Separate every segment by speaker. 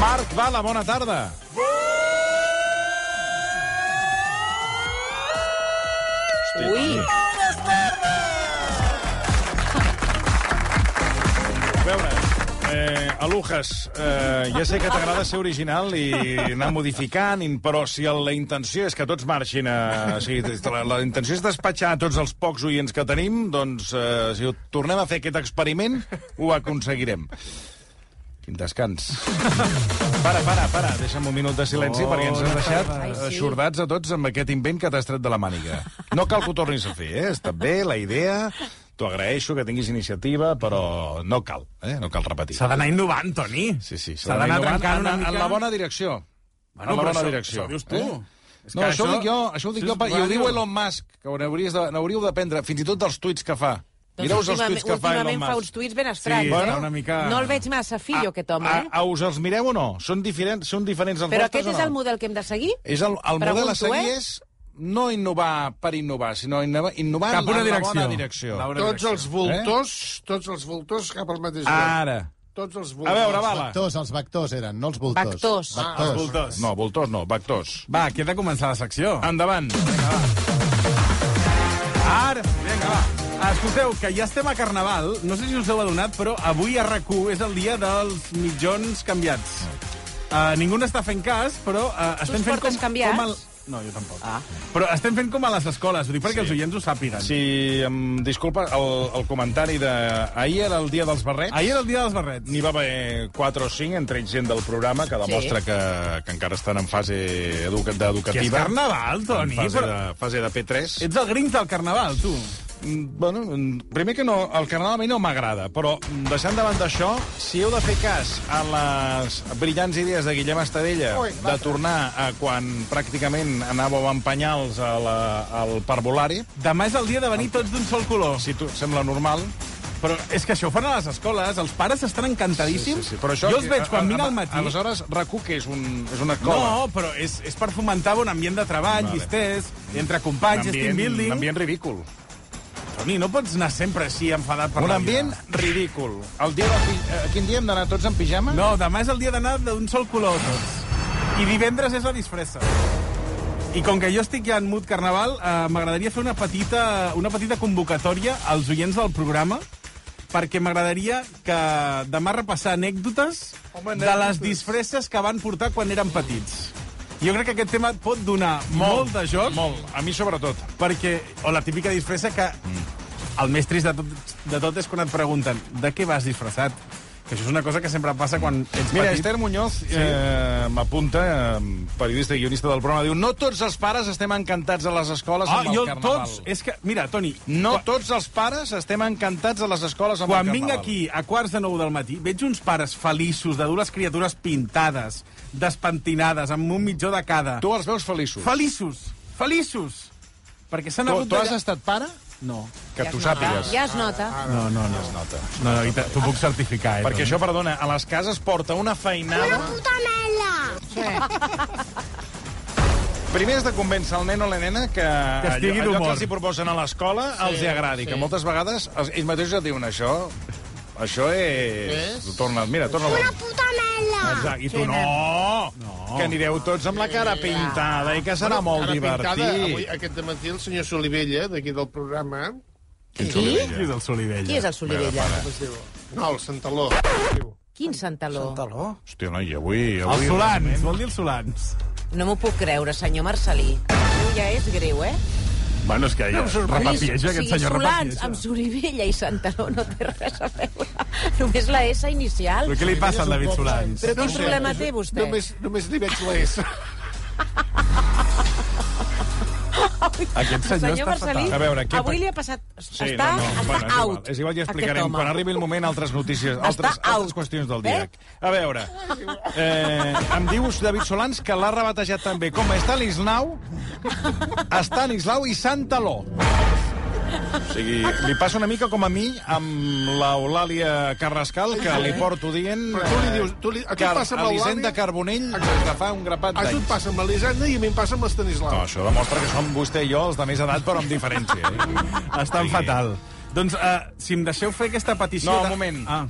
Speaker 1: Marc Bala, bona tarda.
Speaker 2: Ui,
Speaker 1: A veure, eh, Alujas, eh, ja sé que t'agrada ser original i anar modificant, in- però si el- la intenció és que tots marxin, a, o sigui, la, la intenció és despatxar a tots els pocs oients que tenim, doncs eh, si ho tornem a fer aquest experiment, ho aconseguirem. Quin descans. Para, para, para, deixa'm un minut de silenci oh, perquè ens has deixat aixordats a tots amb aquest invent que t'has tret de la màniga. No cal que ho tornis a fer, eh? Està bé, la idea... T'ho agraeixo que tinguis iniciativa, però no cal, eh? No cal repetir.
Speaker 3: S'ha d'anar innovant, Toni.
Speaker 1: Sí, sí,
Speaker 3: S'ha d'anar
Speaker 1: innovant
Speaker 3: trencant una
Speaker 1: en, en
Speaker 3: mica.
Speaker 1: la bona direcció.
Speaker 3: Bueno,
Speaker 1: en la
Speaker 3: però
Speaker 1: bona
Speaker 3: això- això
Speaker 1: direcció. eh?
Speaker 3: ho dius tu. És
Speaker 1: No,
Speaker 3: que
Speaker 1: això, ho
Speaker 3: això-
Speaker 1: dic jo, això ho dic
Speaker 3: això
Speaker 1: jo,
Speaker 3: és
Speaker 1: pa- i ho diu
Speaker 3: ràdio.
Speaker 1: Elon Musk, que ho n'hauries de- n'hauríeu d'aprendre, fins i tot dels tuits que fa.
Speaker 2: doncs
Speaker 1: Mireu els
Speaker 2: últimament,
Speaker 1: tuits que fa Elon
Speaker 2: últimament fa
Speaker 1: Musk.
Speaker 2: uns tuits ben estranys,
Speaker 3: està
Speaker 2: eh?
Speaker 3: una mica-
Speaker 2: No el veig massa
Speaker 1: Ah,
Speaker 2: fillo, aquest home,
Speaker 1: a,
Speaker 2: eh?
Speaker 1: a, us els mireu o no? Són diferents, són diferents els
Speaker 2: Però
Speaker 1: vostres
Speaker 2: aquest és
Speaker 1: o no?
Speaker 2: el model que hem de seguir?
Speaker 1: És el, el
Speaker 2: Pregunto,
Speaker 1: model a seguir
Speaker 2: eh?
Speaker 1: és no innovar per innovar, sinó innovar, innovar
Speaker 3: Cap
Speaker 1: en
Speaker 3: una
Speaker 1: la
Speaker 3: direcció.
Speaker 1: bona direcció.
Speaker 3: La bona-
Speaker 4: Tots els voltors, eh? tots els voltors cap al mateix lloc.
Speaker 1: Ara.
Speaker 4: Tots els
Speaker 1: A
Speaker 4: voltors.
Speaker 1: veure, bala.
Speaker 5: Vectors, els vectors eren, no els voltors.
Speaker 2: Vectors. Ah,
Speaker 4: els
Speaker 5: Vectors.
Speaker 3: Voltors.
Speaker 1: No, voltors no, vectors.
Speaker 3: Va, que he de començar la secció.
Speaker 1: Endavant.
Speaker 3: Ara, vinga, va. Escolteu, que ja estem a Carnaval. No sé si us heu adonat, però avui a RAC1 és el dia dels mitjons canviats. Uh, ningú n'està fent cas, però uh, estem
Speaker 2: els
Speaker 3: fent
Speaker 2: portes
Speaker 3: com,
Speaker 2: canviats?
Speaker 3: com el... No, jo tampoc. Ah. Però estem fent com a les escoles, ho dic perquè sí. els oients ho sàpiguen.
Speaker 1: Si em disculpa el, el comentari de... Ahir era el dia dels barrets.
Speaker 3: Ahir era el dia dels barrets.
Speaker 1: N'hi va haver 4 o 5, entre ells gent del programa, que demostra sí. que, que encara estan en fase educa
Speaker 3: Que és
Speaker 1: d'educativa.
Speaker 3: Carnaval,
Speaker 1: En
Speaker 3: Toni.
Speaker 1: fase,
Speaker 3: Però...
Speaker 1: de, fase de P3.
Speaker 3: Ets el grins del Carnaval, tu.
Speaker 1: Mm, Bueno, mm, primer que no, el carnaval a mi no m'agrada, però mm, deixant davant d'això, si heu de fer cas a les brillants idees de Guillem Estadella
Speaker 4: Ui,
Speaker 1: de tornar a quan pràcticament anàveu amb penyals a la, al parvulari,
Speaker 3: Demà és el dia de venir tots d'un sol color.
Speaker 1: si tu sembla normal...
Speaker 3: Però és que això ho fan a les escoles, els pares estan encantadíssims. jo els veig quan vinc al matí...
Speaker 1: Aleshores, RAC1, que és, un, és una escola...
Speaker 3: No, però és, és per fomentar bon ambient de treball,
Speaker 1: Vale.
Speaker 3: vale. llisters, entre
Speaker 1: un
Speaker 3: companys,
Speaker 1: ambient,
Speaker 3: team
Speaker 1: un
Speaker 3: building...
Speaker 1: ambient ridícul.
Speaker 3: Toni, no pots anar sempre així enfadat per
Speaker 1: Un
Speaker 3: la
Speaker 1: ambient
Speaker 3: vida.
Speaker 1: ridícul. El dia de, pi- eh, quin dia hem d'anar tots en pijama?
Speaker 3: No, demà és el dia d'anar d'un sol color tots. I divendres és la disfressa. I com que jo estic ja en mood carnaval, eh, m'agradaria fer una petita, una petita convocatòria als oients del programa perquè m'agradaria que demà repassar anècdotes Home, de les disfresses que van portar quan eren petits. Jo crec que aquest tema et pot donar molt, molt de joc.
Speaker 1: Molt, a mi sobretot. Mm.
Speaker 3: Perquè, o la típica disfressa que... El més trist de tot, de tot és quan et pregunten de què vas disfressat. Que això és una cosa que sempre passa quan ets
Speaker 1: Mira,
Speaker 3: petit.
Speaker 1: Esther Muñoz eh, m'apunta, eh, periodista i guionista del programa, diu, no tots els pares estem encantats a les escoles
Speaker 3: Ah,
Speaker 1: amb el
Speaker 3: jo,
Speaker 1: carnaval.
Speaker 3: tots, és que, mira, Toni,
Speaker 1: No
Speaker 3: quan,
Speaker 1: tots els pares estem encantats a les escoles amb
Speaker 3: quan
Speaker 1: el
Speaker 3: vinc
Speaker 1: carnaval.
Speaker 3: aquí a quarts de nou del matí, veig uns pares feliços de dur les criatures pintades, despentinades, amb un mitjó de cada.
Speaker 1: Tu els veus feliços.
Speaker 3: Feliços! Feliços! Perquè s'han
Speaker 1: Tu,
Speaker 3: hagut
Speaker 1: tu has estat pare?
Speaker 3: No.
Speaker 1: Que tu sàpigues.
Speaker 2: Ja es nota.
Speaker 3: No, no, no. Es nota. No, no, i te- t'ho puc certificar, eh?
Speaker 1: Perquè
Speaker 3: Toni.
Speaker 1: això, perdona, a les cases porta una feinada...
Speaker 6: puta mela!
Speaker 1: Primer has de convèncer el nen o la nena que,
Speaker 3: Que estigui
Speaker 1: allò, allò que
Speaker 3: d'humor.
Speaker 1: els hi proposen a l'escola sí, els hi agradi, sí. que moltes vegades els- ells mateixos et diuen això... Això és...
Speaker 4: És?
Speaker 1: Torna, mira, torna-ho.
Speaker 6: Puta mela!
Speaker 1: Exacte, i tu no, no, que anireu tots amb la cara pintada i que serà molt
Speaker 4: Ara
Speaker 1: divertit.
Speaker 4: pintada, Avui, aquest matí el senyor Solivella, d'aquí del programa,
Speaker 2: Qui?
Speaker 3: Qui és el Solivella?
Speaker 2: Qui és el Solivella?
Speaker 4: com es diu? No, el Santaló. Diu,
Speaker 2: Quin santaló?
Speaker 1: Hòstia, noi, avui...
Speaker 3: El
Speaker 1: avui
Speaker 3: Solans, vol dir el Solans.
Speaker 2: No m'ho puc creure, senyor Marcelí. Això ja és greu, eh?
Speaker 3: Bueno, és que ja repapieja,
Speaker 2: o sigui,
Speaker 3: aquest senyor
Speaker 2: Solans,
Speaker 3: repapieja.
Speaker 2: amb Sorivella i Santaló no té res a veure. Només la S inicial.
Speaker 3: Però què li passa al David Solans?
Speaker 2: Però quin problema té vostè?
Speaker 4: Només, només li veig la S.
Speaker 3: Aquest senyor,
Speaker 2: senyor
Speaker 3: està
Speaker 2: Marcelí,
Speaker 3: fatal.
Speaker 1: A veure, què-
Speaker 2: avui li ha passat...
Speaker 1: Sí,
Speaker 2: està
Speaker 1: no, no,
Speaker 2: està
Speaker 1: bueno, és
Speaker 2: out,
Speaker 1: Igual, és igual, ja
Speaker 2: aquest
Speaker 1: explicarem
Speaker 2: home.
Speaker 1: quan arribi el moment altres notícies, altres, altres
Speaker 2: out.
Speaker 1: qüestions del
Speaker 2: Bé?
Speaker 1: dia. A veure, eh, em dius, David Solans, que l'ha rebatejat també com a Stanislau, Stanislau i Santaló. O sigui, li passa una mica com a mi amb l'Eulàlia Carrascal, que li porto dient...
Speaker 4: Però tu li dius- tu li- a tu et
Speaker 1: Car-
Speaker 4: passa amb l'Eulàlia?
Speaker 1: l'Elisenda Carbonell
Speaker 4: Exacte.
Speaker 1: des de fa un grapat
Speaker 4: A tu et
Speaker 1: d'anys.
Speaker 4: passa amb l'Elisenda i a mi em passa amb l'Estanislau.
Speaker 1: No, això demostra que som vostè i jo els de més edat, però amb diferència. Eh?
Speaker 3: Estan
Speaker 1: Sí.
Speaker 3: fatal. Doncs, uh, si em deixeu fer aquesta petició...
Speaker 1: No,
Speaker 3: de-
Speaker 1: un moment.
Speaker 3: Ah.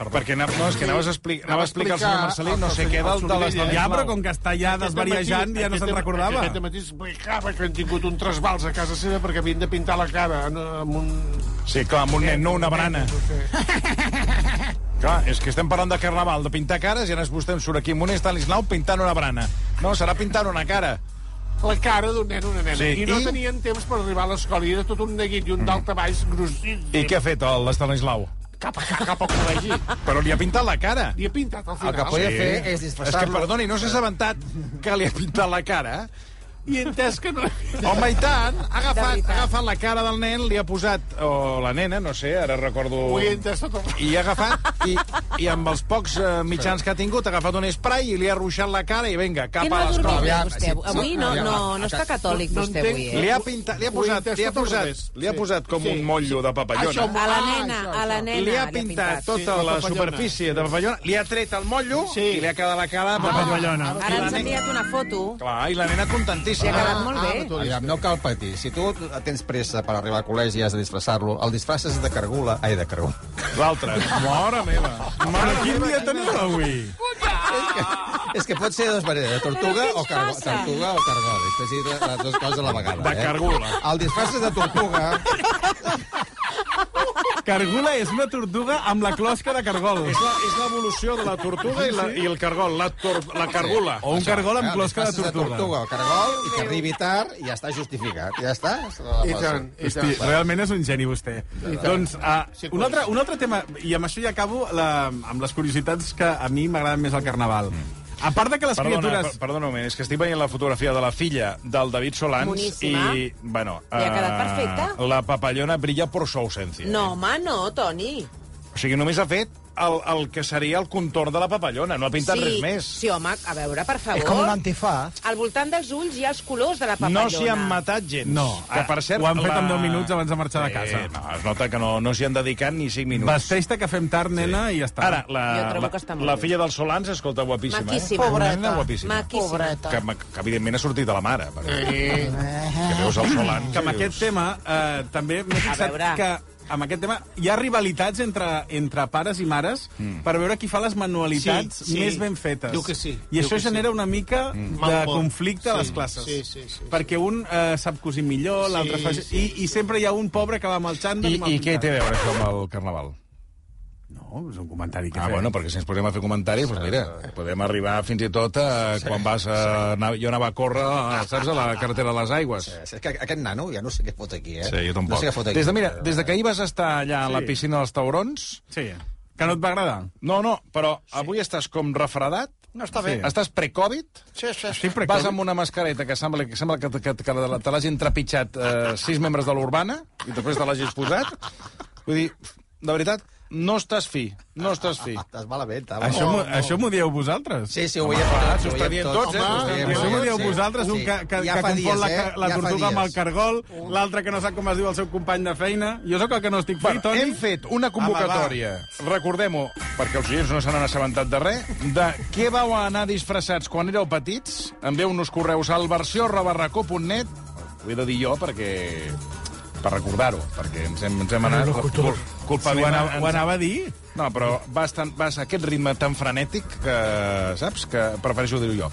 Speaker 1: Perdó. Perquè anava, no, és que anaves a, expli anava a explicar al senyor Marcelí no sé
Speaker 4: al
Speaker 1: què
Speaker 4: senyor-
Speaker 1: del de
Speaker 4: al
Speaker 1: les
Speaker 4: Solivella.
Speaker 3: Ja, però com que està ja desvariejant, ja no se'n recordava.
Speaker 4: Aquest matí explicava que han tingut un trasbals a casa seva perquè havien de pintar la cara en- amb un...
Speaker 1: Sí, clar, amb un nen, no una barana.
Speaker 4: No sé.
Speaker 1: Clar, és que estem parlant de carnaval, de pintar cares, i ara vostè em surt aquí amb un Stanislau pintant una barana. No, serà pintant una cara.
Speaker 4: La cara d'un nen o una nena.
Speaker 1: Sí,
Speaker 4: I no
Speaker 1: i-
Speaker 4: tenien temps per arribar a l'escola. I era tot un neguit i un d'alta baix grossíssim.
Speaker 1: I què ha fet l'Estanislau?
Speaker 4: Cap a, cap al col·legi.
Speaker 1: Però li ha pintat la cara.
Speaker 4: Li he pintat al
Speaker 5: El
Speaker 4: final.
Speaker 5: que podia fer és
Speaker 1: És que,
Speaker 5: disfressar-lo.
Speaker 1: perdoni, no s'ha assabentat que li ha pintat la cara.
Speaker 4: I he entès que no...
Speaker 1: Home, i tant, ha
Speaker 2: De
Speaker 1: agafat,
Speaker 2: veritat.
Speaker 1: ha agafat la cara del nen, li ha posat, o la nena, no sé, ara recordo...
Speaker 4: Ho he entès tot el...
Speaker 1: i ha agafat, i, i amb els pocs eh, mitjans que ha tingut, ha agafat un esprai i li ha ruixat la cara i vinga, cap
Speaker 2: Quin no
Speaker 1: a
Speaker 2: ha dormit
Speaker 1: l'escola.
Speaker 2: bé,
Speaker 5: Aviam,
Speaker 2: vostè?
Speaker 5: sí,
Speaker 2: avui? Avui
Speaker 5: sí,
Speaker 2: no,
Speaker 5: aviam.
Speaker 2: no, no està catòlic,
Speaker 4: No
Speaker 2: vostè,
Speaker 4: entenc.
Speaker 2: avui,
Speaker 1: Li
Speaker 2: eh?
Speaker 1: ha, pintat, li ha posat,
Speaker 4: Ho he
Speaker 1: li ha
Speaker 4: entès tot al
Speaker 1: posat,
Speaker 4: revés.
Speaker 1: li ha
Speaker 4: Sí.
Speaker 1: posat com
Speaker 4: Sí,
Speaker 1: un motllo de papallona.
Speaker 4: Això
Speaker 2: A la
Speaker 4: Ah,
Speaker 2: nena,
Speaker 4: això,
Speaker 2: a la
Speaker 4: això.
Speaker 2: nena
Speaker 1: li ha pintat tota
Speaker 4: Sí,
Speaker 1: la
Speaker 4: papallona.
Speaker 1: superfície de papallona, li ha tret el motllo
Speaker 4: Sí.
Speaker 1: i li ha quedat la cara de papallona.
Speaker 2: Ah, Ara
Speaker 1: I la
Speaker 2: ens ha
Speaker 1: nena-
Speaker 2: enviat una foto.
Speaker 1: Clar, i la nena
Speaker 2: Li ha
Speaker 1: contentíssima.
Speaker 2: quedat molt bé.
Speaker 5: Aviam, no cal patir. Si tu tens pressa per arribar al col·legi i has de disfressar-lo, el disfresses de cargula... Ai, de cargula.
Speaker 1: L'altra, mora meva.
Speaker 3: Però quin dia teniu avui?
Speaker 5: És que, és que pot ser de dues maneres, de tortuga
Speaker 2: Però què
Speaker 5: o,
Speaker 2: ens
Speaker 5: cargo,
Speaker 2: passa?
Speaker 5: tortuga o cargola. És que sí, les dues coses a la vegada.
Speaker 1: De cargola.
Speaker 5: Eh? El disfresses de tortuga... eh,
Speaker 3: Cargula és una tortuga amb la closca de cargol.
Speaker 1: És la- és l'evolució de la tortuga i, la, i el cargol, la, tor la cargula.
Speaker 3: O un cargol
Speaker 5: eh,
Speaker 3: amb
Speaker 5: el
Speaker 3: closca de
Speaker 5: disfresses
Speaker 3: tortuga.
Speaker 5: tortuga o cargol, i que arribi tard, i ja està justificat. Ja està?
Speaker 4: I tant, i
Speaker 3: Hosti,
Speaker 4: tant.
Speaker 3: realment és un geni, vostè. Doncs, uh,
Speaker 4: Sí,
Speaker 3: un, altre, un altre tema, i amb això ja acabo, la, amb les curiositats que a mi m'agraden més al carnaval. A part de que les
Speaker 1: Perdona, per,
Speaker 3: criatures...
Speaker 1: perdona un moment, és que estic veient la fotografia de la filla del David Solans
Speaker 2: Boníssima.
Speaker 1: i, bueno...
Speaker 2: Li ha quedat
Speaker 1: eh,
Speaker 2: perfecta.
Speaker 1: La papallona brilla per su ausència.
Speaker 2: No, home, no, Toni.
Speaker 1: O sigui, només ha fet el, el que seria el contorn de la papallona, no ha pintat
Speaker 2: sí,
Speaker 1: res més.
Speaker 2: Sí, home, a veure, per favor.
Speaker 7: És com un antifà.
Speaker 2: Al voltant dels ulls hi ha els colors de la papallona.
Speaker 1: No s'hi eh? han matat gens.
Speaker 3: No, ah,
Speaker 1: que per cert... Eh,
Speaker 3: ho han fet en 10 minuts abans de marxar de casa.
Speaker 1: no, es nota que no, no s'hi han dedicat ni 5 minuts.
Speaker 3: Vesteix-te que fem tard, nena, i ja està.
Speaker 1: Ara, la,
Speaker 2: Jo trobo
Speaker 1: la,
Speaker 2: que està molt
Speaker 1: la
Speaker 2: bé.
Speaker 1: filla del Solans, escolta, guapíssima.
Speaker 2: Maquíssima.
Speaker 1: Eh?
Speaker 7: Pobreta.
Speaker 1: Una nena guapíssima.
Speaker 2: Maquíssima.
Speaker 7: Pobreta.
Speaker 1: Que, que, evidentment, ha sortit de la mare. Perquè, que veus el Solans...
Speaker 3: que amb aquest tema eh, també m'he fixat
Speaker 2: veure.
Speaker 3: que amb aquest tema hi ha rivalitats entre, entre pares i mares mm. per veure qui fa les manualitats
Speaker 4: Sí, sí.
Speaker 3: més ben fetes.
Speaker 4: Diu que sí,
Speaker 3: I
Speaker 4: diu
Speaker 3: això
Speaker 4: que sí.
Speaker 3: genera una mica mm. de
Speaker 4: Mal por.
Speaker 3: conflicte a les
Speaker 4: Sí,
Speaker 3: classes.
Speaker 4: sí, sí, sí,
Speaker 3: perquè un eh, sap cosir millor, l'altre
Speaker 4: Sí,
Speaker 3: fa...
Speaker 4: sí.
Speaker 3: I, I sempre hi ha un pobre que va amb el xandall
Speaker 1: I,
Speaker 3: i, amb el
Speaker 1: I què
Speaker 3: pintat.
Speaker 1: té a veure això amb el carnaval?
Speaker 3: No, és un comentari que
Speaker 1: Ah,
Speaker 3: fer.
Speaker 1: bueno, perquè si ens posem a fer comentaris, doncs mira, podem arribar fins i tot a quan vas a... anar- Jo anava a córrer, a- saps, a la carretera de les aigües.
Speaker 5: És que aquest nano ja no sé què fot aquí, eh?
Speaker 1: Sí, jo tampoc.
Speaker 5: No sé què fot aquí.
Speaker 1: Des de, mira, des de que ahir vas estar allà a la piscina dels taurons...
Speaker 3: Sí. Que no et va agradar?
Speaker 1: No, no, però avui estàs com refredat,
Speaker 7: No està
Speaker 3: bé.
Speaker 1: estàs pre-Covid,
Speaker 4: Sí, sí, sí.
Speaker 3: Sempre
Speaker 1: vas amb una mascareta que sembla que, sembla que, que, que te l'hagin trepitjat eh, sis membres de l'Urbana i després te l'hagis posat. Vull dir, de veritat, no estàs fi, no estás fi.
Speaker 5: Estàs malament, eh?
Speaker 3: Això m'ho- Això m'ho dieu vosaltres?
Speaker 5: Sí, sí, ho veiem tots.
Speaker 1: Oh, ho
Speaker 5: Ho
Speaker 1: està
Speaker 5: veiem
Speaker 1: dient tots, eh? Ho està dient
Speaker 5: veiem
Speaker 3: Això
Speaker 1: tots.
Speaker 3: ho dieu
Speaker 5: sí.
Speaker 3: vosaltres, un
Speaker 5: Sí.
Speaker 3: que, que,
Speaker 5: Ja
Speaker 3: que
Speaker 5: fa
Speaker 3: confon
Speaker 5: dies,
Speaker 3: la,
Speaker 5: eh?
Speaker 3: ca- la
Speaker 5: Ja fa
Speaker 3: tortuga amb el
Speaker 5: dies.
Speaker 3: cargol, l'altre que no sap com es diu el seu company de feina. Jo sóc el que no estic fi,
Speaker 1: Bueno,
Speaker 3: Toni. Ah,
Speaker 1: hem fet una convocatòria, recordem-ho, perquè els oients no se n'han assabentat de res, de què vau anar disfressats quan éreu petits. Envieu-nos correus al versió.racó.net. Ho he de dir jo perquè per recordar-ho, perquè ens hem, ens hem anat... Cul, cul,
Speaker 3: Si ho,
Speaker 1: culpablement
Speaker 3: anava, ho
Speaker 1: ens-
Speaker 3: anava a dir.
Speaker 1: no, però vas, tan, vas a aquest ritme tan frenètic que, saps, que prefereixo dir-ho jo.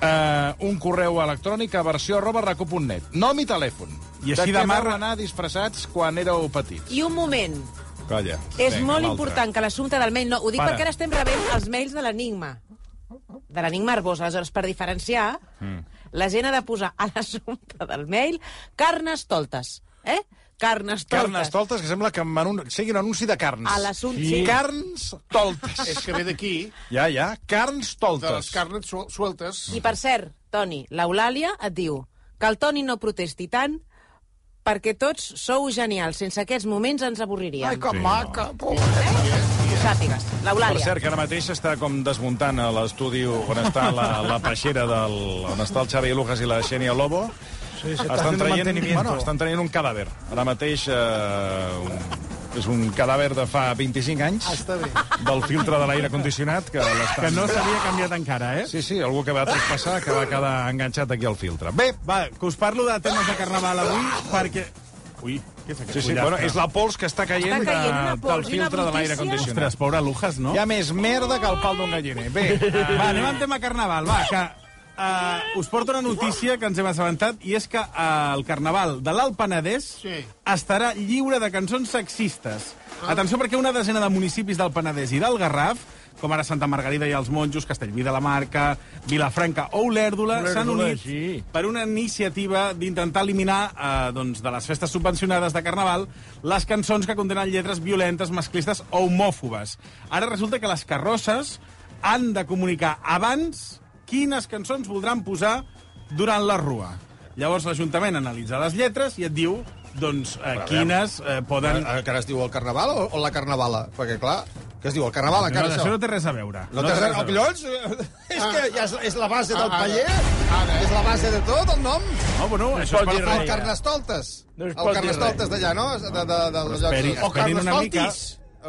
Speaker 1: Uh, un correu electrònic a versió arroba recu.net. Nom i telèfon.
Speaker 3: I així
Speaker 1: de què
Speaker 3: demà-
Speaker 1: vau anar disfressats quan éreu petits.
Speaker 2: I un moment.
Speaker 1: Calla.
Speaker 2: És molt important que l'assumpte del mail... No, ho dic
Speaker 1: Para.
Speaker 2: perquè ara estem rebent els mails de l'Enigma. De l'Enigma Arbós. Aleshores, per diferenciar, mm. la gent ha de posar a l'assumpte del mail carnes toltes. Eh? Carnes toltes.
Speaker 1: Carnes toltes, que sembla que anun... sigui un anunci de carns.
Speaker 2: A l'assumpte, sí.
Speaker 1: Carns toltes.
Speaker 4: És que ve d'aquí,
Speaker 1: ja, ja. Carns
Speaker 4: de
Speaker 5: Doncs
Speaker 4: les
Speaker 1: toltes.
Speaker 4: carnes suel- sueltes.
Speaker 2: I per cert, Toni, l'Eulàlia et diu que el Toni no protesti tant perquè tots sou genials. Sense aquests moments ens avorriríem.
Speaker 4: Ai, que
Speaker 1: Sí,
Speaker 4: sí,
Speaker 1: no.
Speaker 4: maca. No.
Speaker 2: Ho sàpigues.
Speaker 1: Per
Speaker 2: L'Eulàlia.
Speaker 1: cert, que ara mateix s'està com desmuntant a l'estudi on està la, la peixera del, on està el Xavi Lujas i la Xènia Lobo. Sí,
Speaker 4: s'està fent mantenimiento.
Speaker 1: bueno, estan traient un cadàver. Ara mateix eh, un, és un cadàver de fa 25 anys
Speaker 4: Està bé.
Speaker 1: del filtre de l'aire condicionat que l'estan...
Speaker 3: Ah, Que no s'havia canviat encara, eh?
Speaker 1: Sí, sí, algú que va traspassar que va quedar enganxat aquí al filtre. Bé,
Speaker 3: Bé, va, que us parlo de temes de carnaval avui perquè... Ui, què és
Speaker 1: sí,
Speaker 3: aquest?
Speaker 1: sí, bueno, és la pols que està caient,
Speaker 2: Està caient una
Speaker 1: de,
Speaker 2: pols
Speaker 1: del
Speaker 2: i una
Speaker 1: filtre de l'aire
Speaker 2: brutícia.
Speaker 1: condicionat.
Speaker 3: Ostres, pobre Lujas, no?
Speaker 1: Hi ha més merda que el pal d'un galliner. Bé,
Speaker 3: Va, anem al tema carnaval, va, que uh, us porto una notícia que ens hem assabentat i és que uh, el carnaval de l'Alt Penedès
Speaker 4: Sí. Ah.
Speaker 3: estarà lliure de cançons sexistes. Atenció perquè una desena de municipis del Penedès i del Garraf com ara Santa Margarida i els Monjos, Castellví de la Marca, Vilafranca o Olèrdola, s'han
Speaker 4: Olèrdola,
Speaker 3: unit
Speaker 4: sí.
Speaker 3: per una iniciativa d'intentar eliminar eh, doncs, de les festes subvencionades de Carnaval les cançons que contenen lletres violentes, masclistes o homòfobes. Ara resulta que les carrosses han de comunicar abans quines cançons voldran posar durant la rua. Llavors l'Ajuntament analitza les lletres i et diu doncs, eh, quines eh, poden...
Speaker 5: Eh, Encara es diu el carnaval o, o la carnavala? Perquè, clar, què es diu? El carnaval,
Speaker 3: No,
Speaker 5: encara,
Speaker 3: això no té res a veure.
Speaker 5: No, no té res, oh, collons, eh, és que ja és, és la base del
Speaker 4: Ah, ah,
Speaker 5: paller, és la base de tot, el nom.
Speaker 3: No, bueno, això és
Speaker 7: pot
Speaker 3: per
Speaker 7: dir
Speaker 5: El
Speaker 7: res. ja.
Speaker 5: carnestoltes.
Speaker 7: No es
Speaker 5: el
Speaker 7: pot dir
Speaker 5: carnestoltes d'allà, no? De, de, de, dels
Speaker 3: Esperi-
Speaker 5: llocs.
Speaker 3: esperin una mica.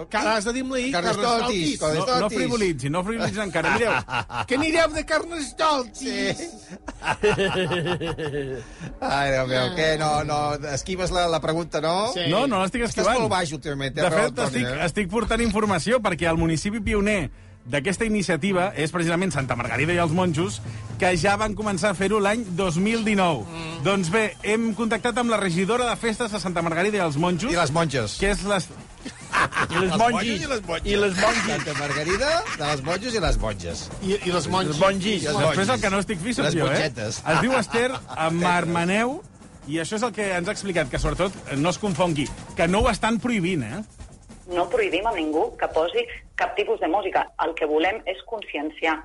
Speaker 4: Carles de Dimli,
Speaker 5: Carnestoltis.
Speaker 4: Carnestoltis.
Speaker 3: No, no frivolitzin, no frivolitzin encara. Mireu,
Speaker 4: Ah. Que anireu de Carnestoltis.
Speaker 5: Sí. Ai, Déu meu, què? No, no, esquives la, la pregunta, no?
Speaker 4: Sí.
Speaker 3: No, no l'estic
Speaker 5: Estàs
Speaker 3: esquivant.
Speaker 5: molt baix últimament, té
Speaker 3: De
Speaker 5: raó,
Speaker 3: fet,
Speaker 5: Toni,
Speaker 3: estic,
Speaker 5: eh?
Speaker 3: estic portant informació perquè el municipi pioner d'aquesta iniciativa és precisament Santa Margarida i els Monjos, que ja van començar a fer-ho l'any 2019. Mm. Doncs bé, hem contactat amb la regidora de festes de Santa Margarida i els Monjos,
Speaker 5: I les monges.
Speaker 3: que és les...
Speaker 7: I les monges. I les monges.
Speaker 5: Santa Margarida, de les monges i les monges.
Speaker 4: I, I les monges.
Speaker 7: Les monges.
Speaker 5: Les monges.
Speaker 3: Després el que no estic fi soc
Speaker 5: Les
Speaker 3: jo, eh?
Speaker 5: mongetes.
Speaker 3: Es diu Esther Marmaneu, i això és el que ens ha explicat, que sobretot no es confongui, que no ho estan prohibint, eh?
Speaker 8: no prohibim a ningú que posi cap tipus de música. El que volem és conscienciar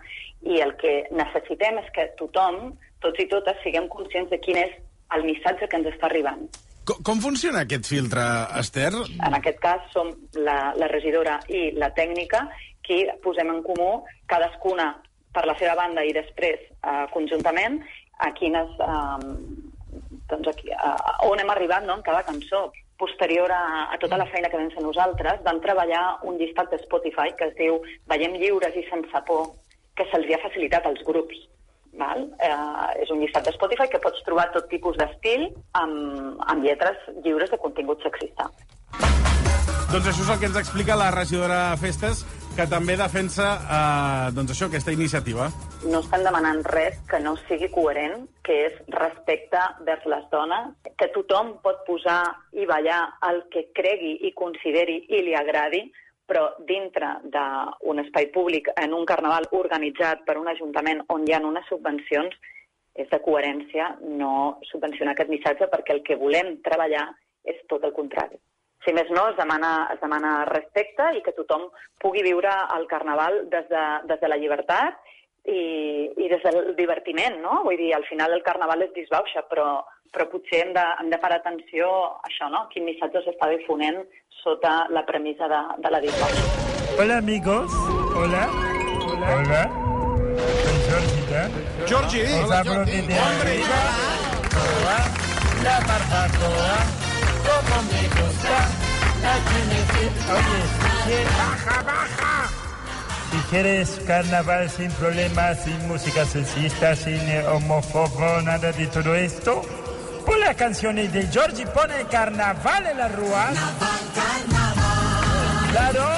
Speaker 8: i el que necessitem és que tothom, tots i totes, siguem conscients de quin és el missatge que ens està arribant.
Speaker 3: Com, com funciona aquest filtre, Esther?
Speaker 8: En aquest cas som la, la regidora i la tècnica qui posem en comú cadascuna per la seva banda i després eh, conjuntament a quines... Eh, doncs aquí, a, a on hem arribat no, amb cada cançó. Posterior a, a tota la feina que vam fer nosaltres, vam treballar un llistat de Spotify que es diu Veiem lliures i sense por, que se'ls hi ha facilitat als grups. Val? Eh, és un llistat de Spotify que pots trobar tot tipus d'estil amb, amb lletres lliures de contingut sexista.
Speaker 3: Doncs això és el que ens explica la regidora de Festes, que també defensa eh, doncs això aquesta iniciativa.
Speaker 8: no estan demanant res que no sigui coherent, que és respecte vers les dones, que tothom pot posar i ballar el que cregui i consideri i li agradi, però dintre d'un espai públic, en un carnaval organitzat per un ajuntament on hi ha unes subvencions, és de coherència no subvencionar aquest missatge perquè el que volem treballar és tot el contrari. Si més no, es demana, es demana respecte i que tothom pugui viure el carnaval des de, des de la llibertat i, i des del divertiment, no? Vull dir, al final el carnaval és disbauxa, però, però potser hem de, hem de parar atenció a això, no? Quin missatge s'està difonent sota la premissa de, de la disbauxa.
Speaker 7: Hola, amigos. Hola. Hola. Hola. Soy Georgita.
Speaker 1: Jordi,
Speaker 7: Os hablo de Hombre, La barbacoa. Como me gusta. Aquí me Oye, si quieres... ¡Baja, baja! Si quieres carnaval sin problemas, sin música sexista, sin eh, homófobo, nada de todo esto, pon las canciones de Georgie, pon el carnaval en la rúa. Claro.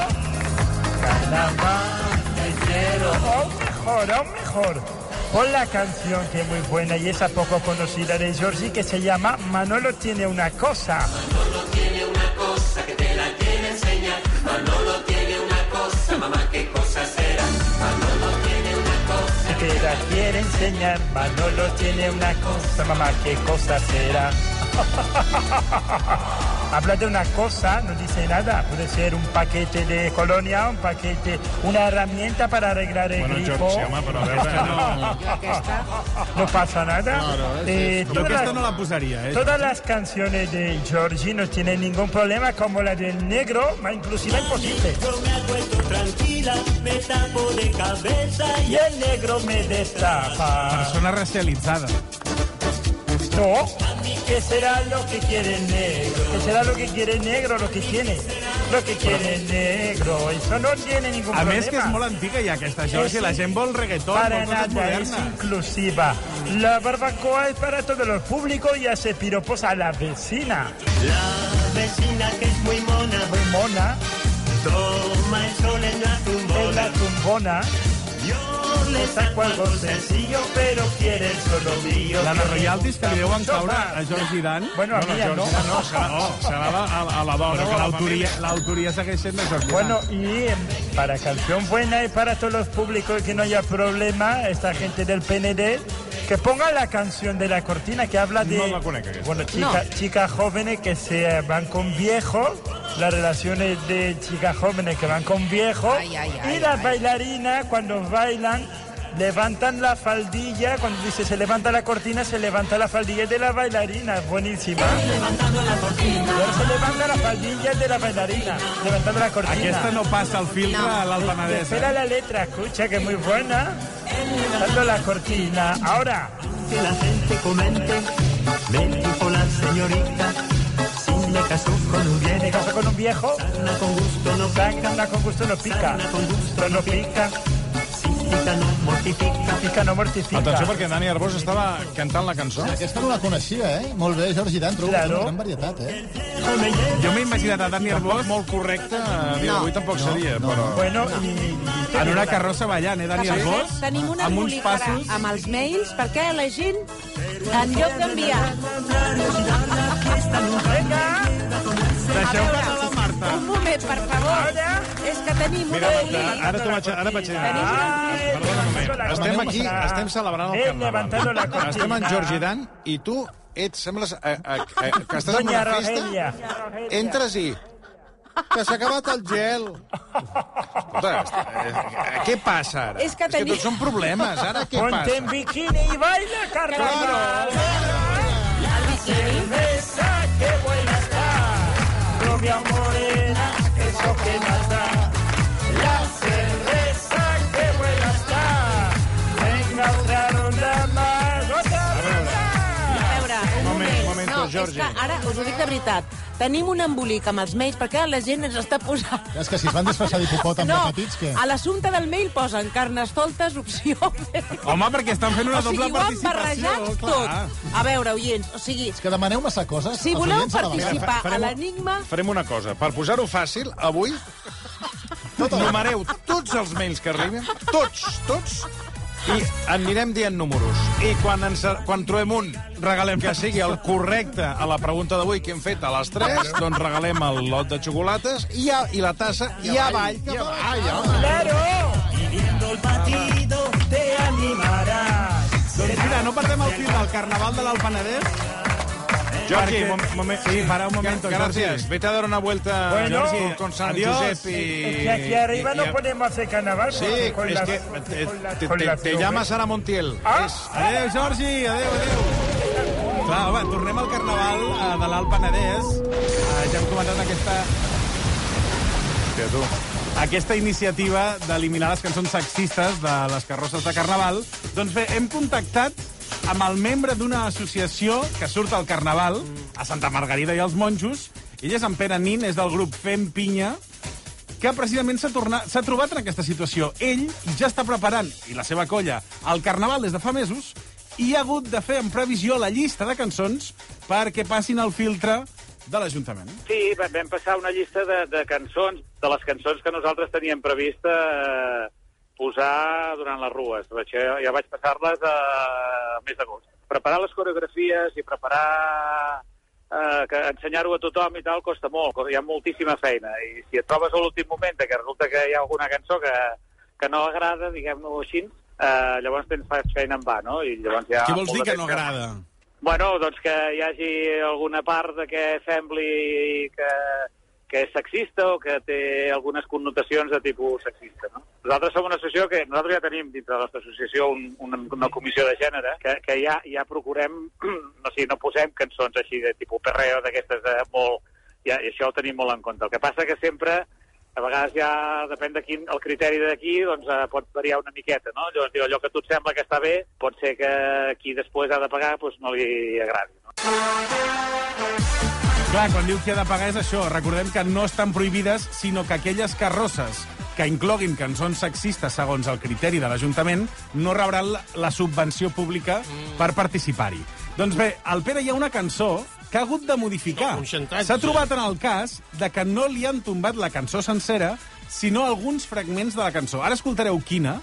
Speaker 7: Carnaval, te quiero. Aún mejor, aún mejor. Pon la canción que es muy buena y esa poco conocida de Georgie que se llama Manolo tiene una cosa. Manolo tiene una cosa que te la quiere enseñar. Manolo tiene una cosa, mamá, qué cosa será. Manolo tiene una cosa, mamá, qué cosa será. Habla de una cosa, no dice nada. Puede ser un paquete de colonia, un paquete, una herramienta para arreglar el
Speaker 1: Bueno,
Speaker 7: grifo.
Speaker 9: oh.
Speaker 1: Jordi, sí, home, però a veure, no...
Speaker 7: No pasa nada. Eh,
Speaker 3: Jo
Speaker 7: todas,
Speaker 3: aquesta no la posaria, eh?
Speaker 7: todas las canciones de Georgie no tienen ningún problema, como la del negro, más inclusive imposible. Y el negro me destapa.
Speaker 3: Persona racialitzada.
Speaker 7: No. ¿Qué será lo que quiere el negro? ¿Qué será lo que quiere el negro? Lo que tiene. Lo que quiere el negro. Eso no tiene ningún
Speaker 3: A
Speaker 7: problema.
Speaker 3: més, que és molt antiga ja aquesta, Jordi. La gent vol reggaeton,
Speaker 7: Para
Speaker 3: vol coses
Speaker 7: nada, es
Speaker 3: modernes.
Speaker 7: inclusiva. La barbacoa es para todos los públicos y hace piropos a la vecina. La vecina que es muy mona. Muy mona. Toma el sol en la tumbona. Yo le saco algo sencillo, pero quiere el solo mío.
Speaker 3: La de royalties que li deuen
Speaker 7: Mucho
Speaker 3: caure
Speaker 7: más.
Speaker 3: a Jordi Dan.
Speaker 7: Bueno, a
Speaker 1: No,
Speaker 7: mí
Speaker 1: no,
Speaker 7: ya no.
Speaker 1: Jordi, no, serà, serà la, a, a la dona,
Speaker 3: Però
Speaker 1: o
Speaker 3: que
Speaker 1: a la família.
Speaker 3: l'autoria l'autoria segueix sent de Jordi
Speaker 7: Bueno,
Speaker 3: Dan.
Speaker 7: y em, para canción buena y para todos los públicos que no haya problema, esta gente del PND, que ponga la canción de la cortina que habla de
Speaker 1: No la conozco, esta.
Speaker 7: bueno, chica- chicas jóvenes que se eh, van con viejos, las relaciones de chicas jóvenes que van con viejos,
Speaker 2: Ay, ay, ay,
Speaker 7: y las
Speaker 2: ay.
Speaker 7: bailarinas cuando bailan levantan la faldilla, cuando dice se levanta la cortina, se levanta la faldilla de la bailarina, buenísima. Se levanta la faldilla de la bailarina, levantando la cortina.
Speaker 3: Aquesta no passa el filtre a l'Alt Penedès.
Speaker 1: eh?
Speaker 7: Espera la letra, escucha que es muy buena. Dando la cortina. Ahora.
Speaker 10: que la gente comente, me dijo la señorita, si me casó con un
Speaker 7: Me
Speaker 10: bien,
Speaker 7: caso con un viejo.
Speaker 10: sana con gusto no pica,
Speaker 7: Sarna con gusto no pica.
Speaker 10: Sarna con gusto
Speaker 7: Pero no pica.
Speaker 10: cita no mortifica.
Speaker 7: Pica no mortifica.
Speaker 1: Atenció, perquè Dani Arbós estava cantant la cançó.
Speaker 9: Aquesta no la coneixia, eh? Molt bé, Jordi Dan, trobo
Speaker 7: Claro.
Speaker 9: que és una gran varietat, eh?
Speaker 3: Jo m'he imaginat a Dani Arbós
Speaker 1: Molt correcte, a dia d'avui tampoc seria, però...
Speaker 7: Bueno, y, y-
Speaker 3: en una carrossa ballant, eh, Dani
Speaker 2: Que, per
Speaker 3: Arbós?
Speaker 2: cert, tenim una
Speaker 3: Amb uns
Speaker 2: embolicara
Speaker 3: passos.
Speaker 2: amb els mails perquè la gent, en lloc d'enviar...
Speaker 7: Venga.
Speaker 3: Deixeu
Speaker 2: A veure,
Speaker 3: que la Marta.
Speaker 2: Un moment, per favor.
Speaker 7: Ara.
Speaker 2: És que tenim
Speaker 1: Mira,
Speaker 2: una
Speaker 1: Marta,
Speaker 2: embolicara.
Speaker 1: ara t'ho vaig... Ara vaig...
Speaker 2: Tenim una...
Speaker 1: Perdona un moment. Estem aquí, estem celebrant el
Speaker 7: Eh, levantando la
Speaker 1: carnaval.
Speaker 7: cortina.
Speaker 1: Estem en Jordi Dan i tu ets, sembles, eh, eh, eh, que estàs en
Speaker 7: Doña
Speaker 1: una festa,
Speaker 7: Rogelia.
Speaker 1: entres i... Que s'ha acabat el gel. Escolta, eh, eh, què passa ara?
Speaker 2: És que
Speaker 1: és que
Speaker 2: teni-
Speaker 1: tots són problemes, ara què
Speaker 7: Ponte en
Speaker 1: passa?
Speaker 7: bikini y baila carnaval. Cerveza, qué buena está. Rubia morena, eso que más da. La cerveza, qué buena está. Venga otra ronda más, otra ronda.
Speaker 2: A veure, un
Speaker 1: Moment,
Speaker 2: moment.
Speaker 1: momento,
Speaker 2: no,
Speaker 1: Jordi.
Speaker 2: és que ara, us ho dic de veritat, tenim un embolic amb els mails perquè la gent ens està posant...
Speaker 9: És que si es van disfressar d'hipopòtam
Speaker 2: No,
Speaker 9: de petits, què?
Speaker 2: a l'assumpte del mail posen carnestoltes, opció...
Speaker 3: Home, perquè estan fent una
Speaker 2: o sigui,
Speaker 3: doble
Speaker 2: ho han barrejat
Speaker 3: participació. clar.
Speaker 2: tot. A veure, oients, o sigui,
Speaker 9: És que demaneu massa coses.
Speaker 2: si
Speaker 9: als
Speaker 2: voleu
Speaker 9: oients a la vegada.
Speaker 2: participar
Speaker 1: farem
Speaker 2: a
Speaker 1: un-
Speaker 2: l'enigma,
Speaker 1: Farem una cosa. Per posar-ho fàcil, avui numereu tots els mails que arriben, tots, tots, i anirem dient números. I quan, ens, quan trobem un regalem que sigui el correcte a la pregunta d'avui que hem fet a les 3, doncs regalem el lot de xocolates i, a, i la tassa i avall. I avall, home.
Speaker 7: Claro. Y viendo el partido te animarás.
Speaker 3: Doncs mira, no perdem el fil del carnaval de l'Alt Penedès.
Speaker 1: Jordi,
Speaker 3: perquè-
Speaker 1: mom- moment.
Speaker 3: Sí, para un momento,
Speaker 1: Gràcies.
Speaker 3: Jordi.
Speaker 1: Vete a dar una vuelta
Speaker 7: Bueno,
Speaker 1: Jordi, con San
Speaker 3: adiós.
Speaker 1: Josep i...
Speaker 7: Es que aquí arriba
Speaker 1: i-
Speaker 7: no podemos hacer carnaval.
Speaker 1: Sí,
Speaker 7: porque con
Speaker 1: es
Speaker 7: las-
Speaker 1: que te,
Speaker 7: con las-
Speaker 1: te-
Speaker 7: con
Speaker 1: te-
Speaker 7: las
Speaker 1: te
Speaker 7: nubes.
Speaker 1: llamas Ana Montiel.
Speaker 7: Ah.
Speaker 1: És-
Speaker 3: Adéu, Jordi, adéu, adéu. Clar, home, tornem al carnaval eh, de l'Alt Penedès. Eh, Ja hem comentat aquesta...
Speaker 1: Hòstia, tu.
Speaker 3: aquesta iniciativa d'eliminar les cançons sexistes de les carrosses de Carnaval, doncs bé, hem contactat amb el membre d'una associació que surt al Carnaval, a Santa Margarida i els Monjos. Ell és en Pere Nin, és del grup Fem Pinya, que precisament s'ha torna- s'ha trobat en aquesta situació. Ell ja està preparant, i la seva colla, el Carnaval des de fa mesos, i ha hagut de fer en previsió la llista de cançons perquè passin el filtre de l'Ajuntament.
Speaker 11: Sí, va- vam passar una llista de, de cançons, de les cançons que nosaltres teníem prevista eh, posar durant les rues. Vaig, ja ja vaig passar-les eh, al mes d'agost. Preparar les coreografies i preparar... Eh, que ensenyar-ho a tothom i tal costa molt, co- hi ha moltíssima feina. I si et trobes a l'últim moment de que resulta que hi ha alguna cançó que, que no agrada, diguem-ho així, eh, llavors tens fas feina en va, no? I llavors ja...
Speaker 3: Què vols
Speaker 11: molt
Speaker 3: dir
Speaker 11: de
Speaker 3: que
Speaker 11: temps
Speaker 3: no agrada?
Speaker 11: Bueno, doncs que hi hagi alguna part de què sembli que, que és sexista o que té algunes connotacions de tipus sexista, no? Nosaltres som una associació que nosaltres ja tenim dintre de la nostra associació un, una, una comissió de gènere que, que ja, ja procurem, no, sé, no posem cançons així de tipus perreo, d'aquestes de molt... Ja, i això ho tenim molt en compte. El que passa que sempre a vegades ja depèn de quin, el criteri d'aquí, doncs eh, pot variar una miqueta, no? Llavors, diu, allò que a tu et sembla que està bé, pot ser que qui després ha de pagar doncs, no li agradi. No?
Speaker 3: Clar, quan diu que ha de pagar és això. Recordem que no estan prohibides, sinó que aquelles carrosses que incloguin cançons sexistes segons el criteri de l'Ajuntament no rebran la- la subvenció pública per participar-hi. Doncs bé, al Pere hi ha una cançó que ha hagut de modificar. S'ha trobat en el cas de que no li han tombat la cançó sencera, sinó alguns fragments de la cançó. Ara escoltareu quina,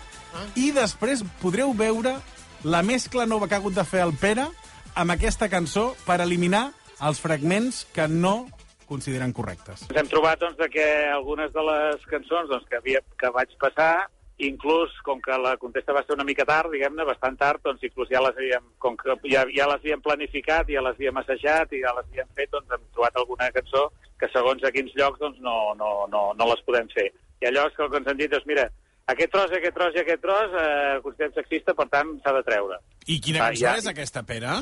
Speaker 3: i després podreu veure la mescla nova que ha hagut de fer el Pere amb aquesta cançó per eliminar els fragments que no consideren correctes.
Speaker 11: Ens hem trobat doncs, de que algunes de les cançons doncs, que, havia, que vaig passar, inclús, com que la contesta va ser una mica tard, diguem-ne, bastant tard, doncs inclús ja les havíem, com que ja, ja les havíem planificat, ja les havíem assajat i ja les havíem fet, doncs hem trobat alguna cançó que segons a quins llocs doncs, no, no, no, no les podem fer. I allò és que el que ens han dit, doncs mira, aquest tros, aquest tros i aquest tros, eh, considerem sexista, per tant, s'ha de treure.
Speaker 12: I quina
Speaker 11: Ah,
Speaker 12: cançó
Speaker 11: ja.
Speaker 12: és aquesta, Pere?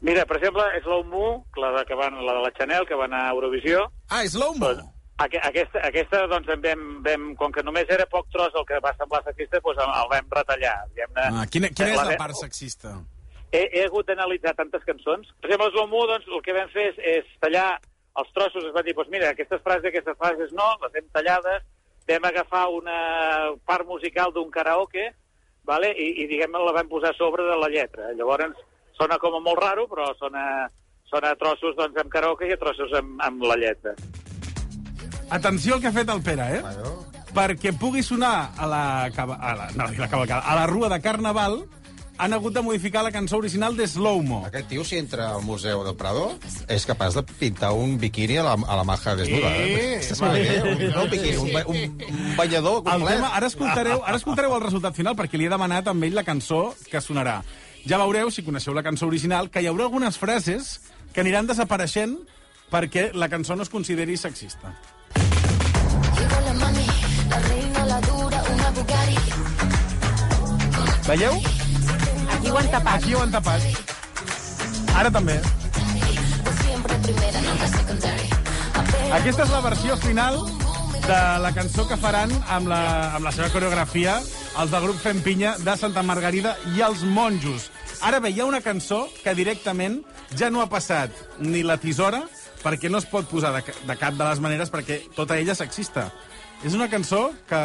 Speaker 11: Mira, per exemple, Slow Mo, la de, que va, la de la Chanel, que va anar a Eurovisió.
Speaker 12: Ah, Slow Mo.
Speaker 11: Aqu aquesta, aquesta, doncs, en vam, vam, com que només era poc tros el que va semblar sexista, doncs el, el vam retallar. Diguem-ne.
Speaker 12: Ah, quina, quina és la
Speaker 11: ve-
Speaker 12: part sexista?
Speaker 11: He, he hagut d'analitzar tantes cançons. Per exemple, Slow Mo, doncs, el que vam fer és, és tallar els trossos. Es va dir, doncs mira, aquestes frases, aquestes frases no, les hem tallades, vam agafar una part musical d'un karaoke, vale? i, i diguem la vam posar a sobre de la lletra. Llavors, sona com a molt raro, però sona, sona a trossos doncs, amb karaoke i a trossos amb, amb la lletra.
Speaker 3: Atenció al que ha fet el Pere, eh? Perquè pugui sonar a la, cava- a la, no, a la, cavalcada, a la rua de Carnaval, han hagut de modificar la cançó original de Slow Mo.
Speaker 5: Aquest tio, si entra al Museu del Prado, és capaç de pintar un biquini a la, a la maja desnuda.
Speaker 3: Eh,
Speaker 5: Estàs molt bé, un, no, un biquini, un, ba- un, un banyador
Speaker 3: El
Speaker 5: complet.
Speaker 3: tema, ara, escoltareu, ara escoltareu el resultat final, perquè li he demanat amb ell la cançó que sonarà. Ja veureu, si coneixeu la cançó original, que hi haurà algunes frases que aniran desapareixent perquè la cançó no es consideri sexista.
Speaker 6: Llegó la mami, la reina, la dura, una Bugatti.
Speaker 3: Veieu?
Speaker 2: Aquí ho han tapat.
Speaker 3: Aquí ho han tapat. Ara també. Aquesta és la versió final de la cançó que faran amb la, amb la seva coreografia els del grup Fem Pinya de Santa Margarida i els Monjos. Ara bé, hi ha una cançó que directament ja no ha passat ni la tisora perquè no es pot posar de, ca- de cap de les maneres perquè tota ella sexista. És una cançó que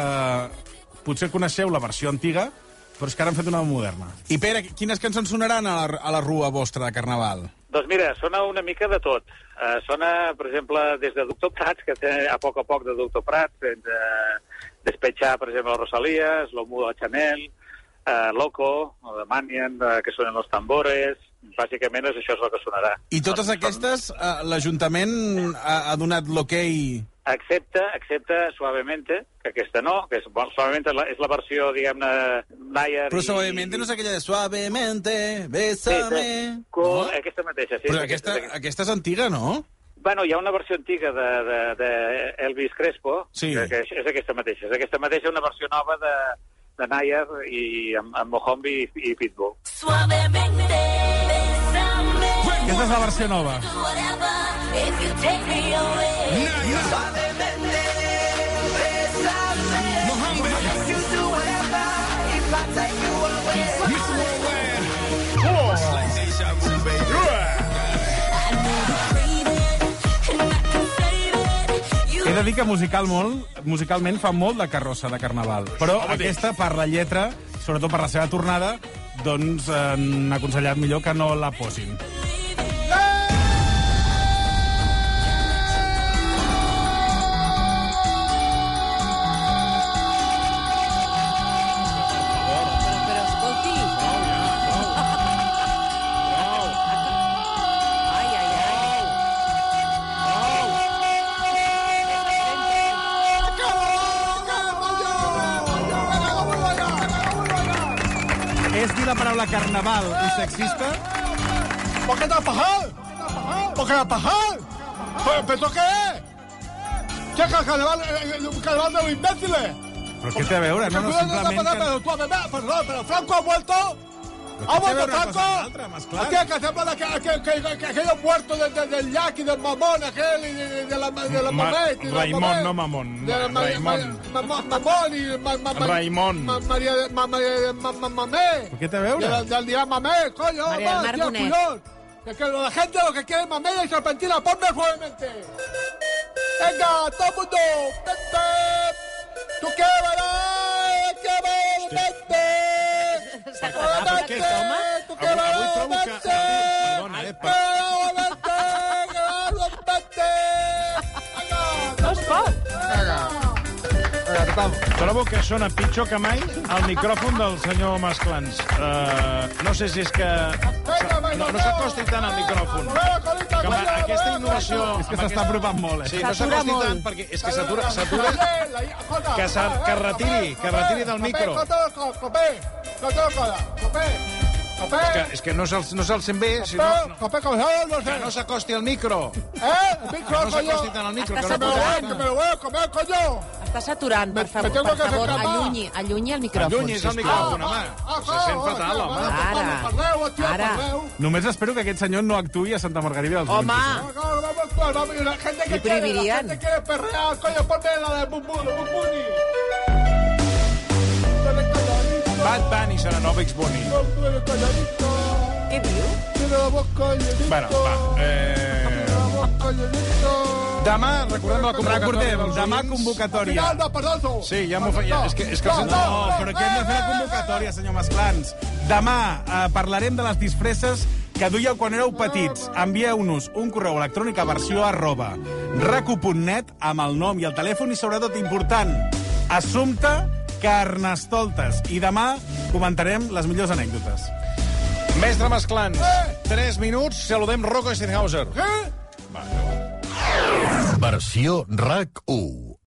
Speaker 3: potser coneixeu la versió antiga, però és que ara han fet una moderna.
Speaker 12: I Pere, quines cançons sonaran a la, a la rua vostra de Carnaval?
Speaker 11: Doncs mira, sona una mica de tot. Uh, sona, per exemple, des de Doctor Prats, que té a poc a poc de Doctor Prats, fins a Despetxar, per exemple, la Rosalia, Slomo de Chanel, uh, Loco, o de Manian, uh, que sonen els tambores... Bàsicament és això és el que sonarà.
Speaker 12: I totes aquestes, eh, l'Ajuntament ha, ha donat l'hoquei...
Speaker 11: Excepte, excepte Suavemente, que aquesta no, que és, bueno, Suavemente és la, és la versió, diguem-ne, Nayer...
Speaker 12: Però
Speaker 11: i-
Speaker 12: suavemente no és aquella de suavemente,
Speaker 11: Sí,
Speaker 12: bésame...
Speaker 11: sí, co- Aquesta mateixa, sí.
Speaker 12: Però
Speaker 11: és
Speaker 12: aquesta,
Speaker 11: és
Speaker 12: aquesta és antiga, no?
Speaker 11: Bueno, hi ha una versió antiga de, de, de Elvis Crespo,
Speaker 12: Sí.
Speaker 11: que, que és, és aquesta mateixa. És aquesta mateixa, una versió nova de, de Nayer i amb, amb Mohombi i, i Pitbull.
Speaker 6: Suavemente, bésame.
Speaker 3: Aquesta és la versió nova.
Speaker 6: Whatever, if you take me away. Suavemente, bésame. You do whatever, if I take you away.
Speaker 3: He de dir que musical molt, musicalment fa molt de carrossa de Carnaval, però aquesta, per la lletra, sobretot per la seva tornada, doncs eh, han aconsellat millor que no la posin.
Speaker 2: Però escolti... Prou, ja, prou. Ai, ai, ai.
Speaker 3: És dir la paraula carnaval i sexista
Speaker 4: ¿Por qué trabajar? ¿Por qué trabajar? ¿Pero, pero esto qué es? ¿Qué es el carnaval, eh, eh, un carnaval de los imbéciles?
Speaker 3: Però què té a veure? No, no, simplement...
Speaker 4: Perdó,
Speaker 3: Que...
Speaker 4: però, tu, perdó, perdó, però Franco ha vuelto...
Speaker 3: Però què té a
Speaker 4: Ha vuelto
Speaker 3: veure una cosa amb l'altra,
Speaker 4: Franco.
Speaker 3: masclar?
Speaker 4: Aquí, que sembla que, que, que, que, que aquellos muertos de, de, del llac i del mamón aquell i de, de, de la, de la
Speaker 1: Ma-
Speaker 4: mamet. i de la
Speaker 1: Raimon,
Speaker 4: mamet.
Speaker 1: no mamón.
Speaker 4: De la ma-
Speaker 1: Raimon.
Speaker 4: ma- ma- Mamón i... ma- ma- ma-
Speaker 1: Raimon.
Speaker 4: ma- Maria de... ma- Maria de... ma- ma- Mamé.
Speaker 3: Què té a
Speaker 4: De
Speaker 3: veure?
Speaker 4: la- Del dirà Mamé, coño,
Speaker 2: Maria del
Speaker 4: home,
Speaker 2: Mar
Speaker 4: tio,
Speaker 2: Bonet.
Speaker 4: collons. Que, que la gente lo que quiere es Mamé y serpentina, ponme suavemente. Venga, todo el mundo. Vente. Tú que verás, que verás, vente.
Speaker 2: S'ha acabat aquest home?
Speaker 4: Tu que verás, vente.
Speaker 1: Perdona, eh, per...
Speaker 2: No es pot.
Speaker 1: Trobo que sona pitjor que mai el micròfon del senyor Masclans. Uh, no sé si és que... No, no s'acosti tant al micròfon. Que amb aquesta innovació...
Speaker 3: És que
Speaker 1: amb
Speaker 3: s'està
Speaker 1: aquesta-
Speaker 3: apropant molt, eh?
Speaker 1: Sí, no s'acosti tant, perquè és que s'atura... s'atura... Que, se, que retiri, que retiri del micro.
Speaker 4: Copé, copé, copé, copé.
Speaker 1: És que, és que no se'l no se'l sent bé, si no... no-
Speaker 4: Copé, copé, no
Speaker 1: Que
Speaker 4: sé.
Speaker 1: no s'acosti al micro.
Speaker 4: ¿Eh? El micro,
Speaker 1: No
Speaker 4: coño.
Speaker 1: s'acosti tant al micro, que
Speaker 4: Que
Speaker 1: no
Speaker 4: me lo
Speaker 1: pot...
Speaker 4: voy, que me lo voy a comer, coño.
Speaker 2: Està saturant, per favor.
Speaker 4: tengo
Speaker 2: Per
Speaker 4: que
Speaker 2: favor,
Speaker 4: escapar.
Speaker 2: allunyi, allunyi el micròfon.
Speaker 1: Allunyi's el
Speaker 2: sisplau.
Speaker 1: micròfon, home. Se sent fatal, home.
Speaker 2: ah, Ara.
Speaker 4: Parleu, hòstia,
Speaker 2: Ara.
Speaker 4: parleu.
Speaker 3: Només espero que aquest senyor no actuï a Santa Margarida dels
Speaker 2: Home,
Speaker 3: Monjos.
Speaker 4: No, no, vamos, pues, vamos, y La gente
Speaker 2: Qué
Speaker 4: que quiere, la
Speaker 2: privilian.
Speaker 4: gente quiere perrear, coño, ponme la de Bum Bum, Bum Buni. Ponme calladito,
Speaker 1: Bad Bunny serà nou Ex Bunny.
Speaker 4: ponme calladito.
Speaker 2: Què diu?
Speaker 4: Tiene la voz calladito.
Speaker 1: Bueno, va. Eh...
Speaker 4: Tiene la voz calladito.
Speaker 1: Demà, recordem la convocatòria.
Speaker 3: Recordem,
Speaker 1: dels
Speaker 3: demà
Speaker 1: oients.
Speaker 3: convocatòria.
Speaker 4: Final de pedazo.
Speaker 1: Sí, ja m'ho feia... És que, és que
Speaker 3: No,
Speaker 1: el senyor...
Speaker 3: però que hem de fer la convocatòria, senyor Masclans. Demà eh, parlarem de les disfresses que duia quan éreu petits. Envieu-nos un correu electrònic a versió arroba raco.net amb el nom i el telèfon i, sobretot, important, assumpte carnestoltes. I demà comentarem les millors anècdotes.
Speaker 1: Mestre Masclans, 3 minuts, saludem Rocco Steinhauser.
Speaker 4: Eh?
Speaker 13: Versió RAC 1.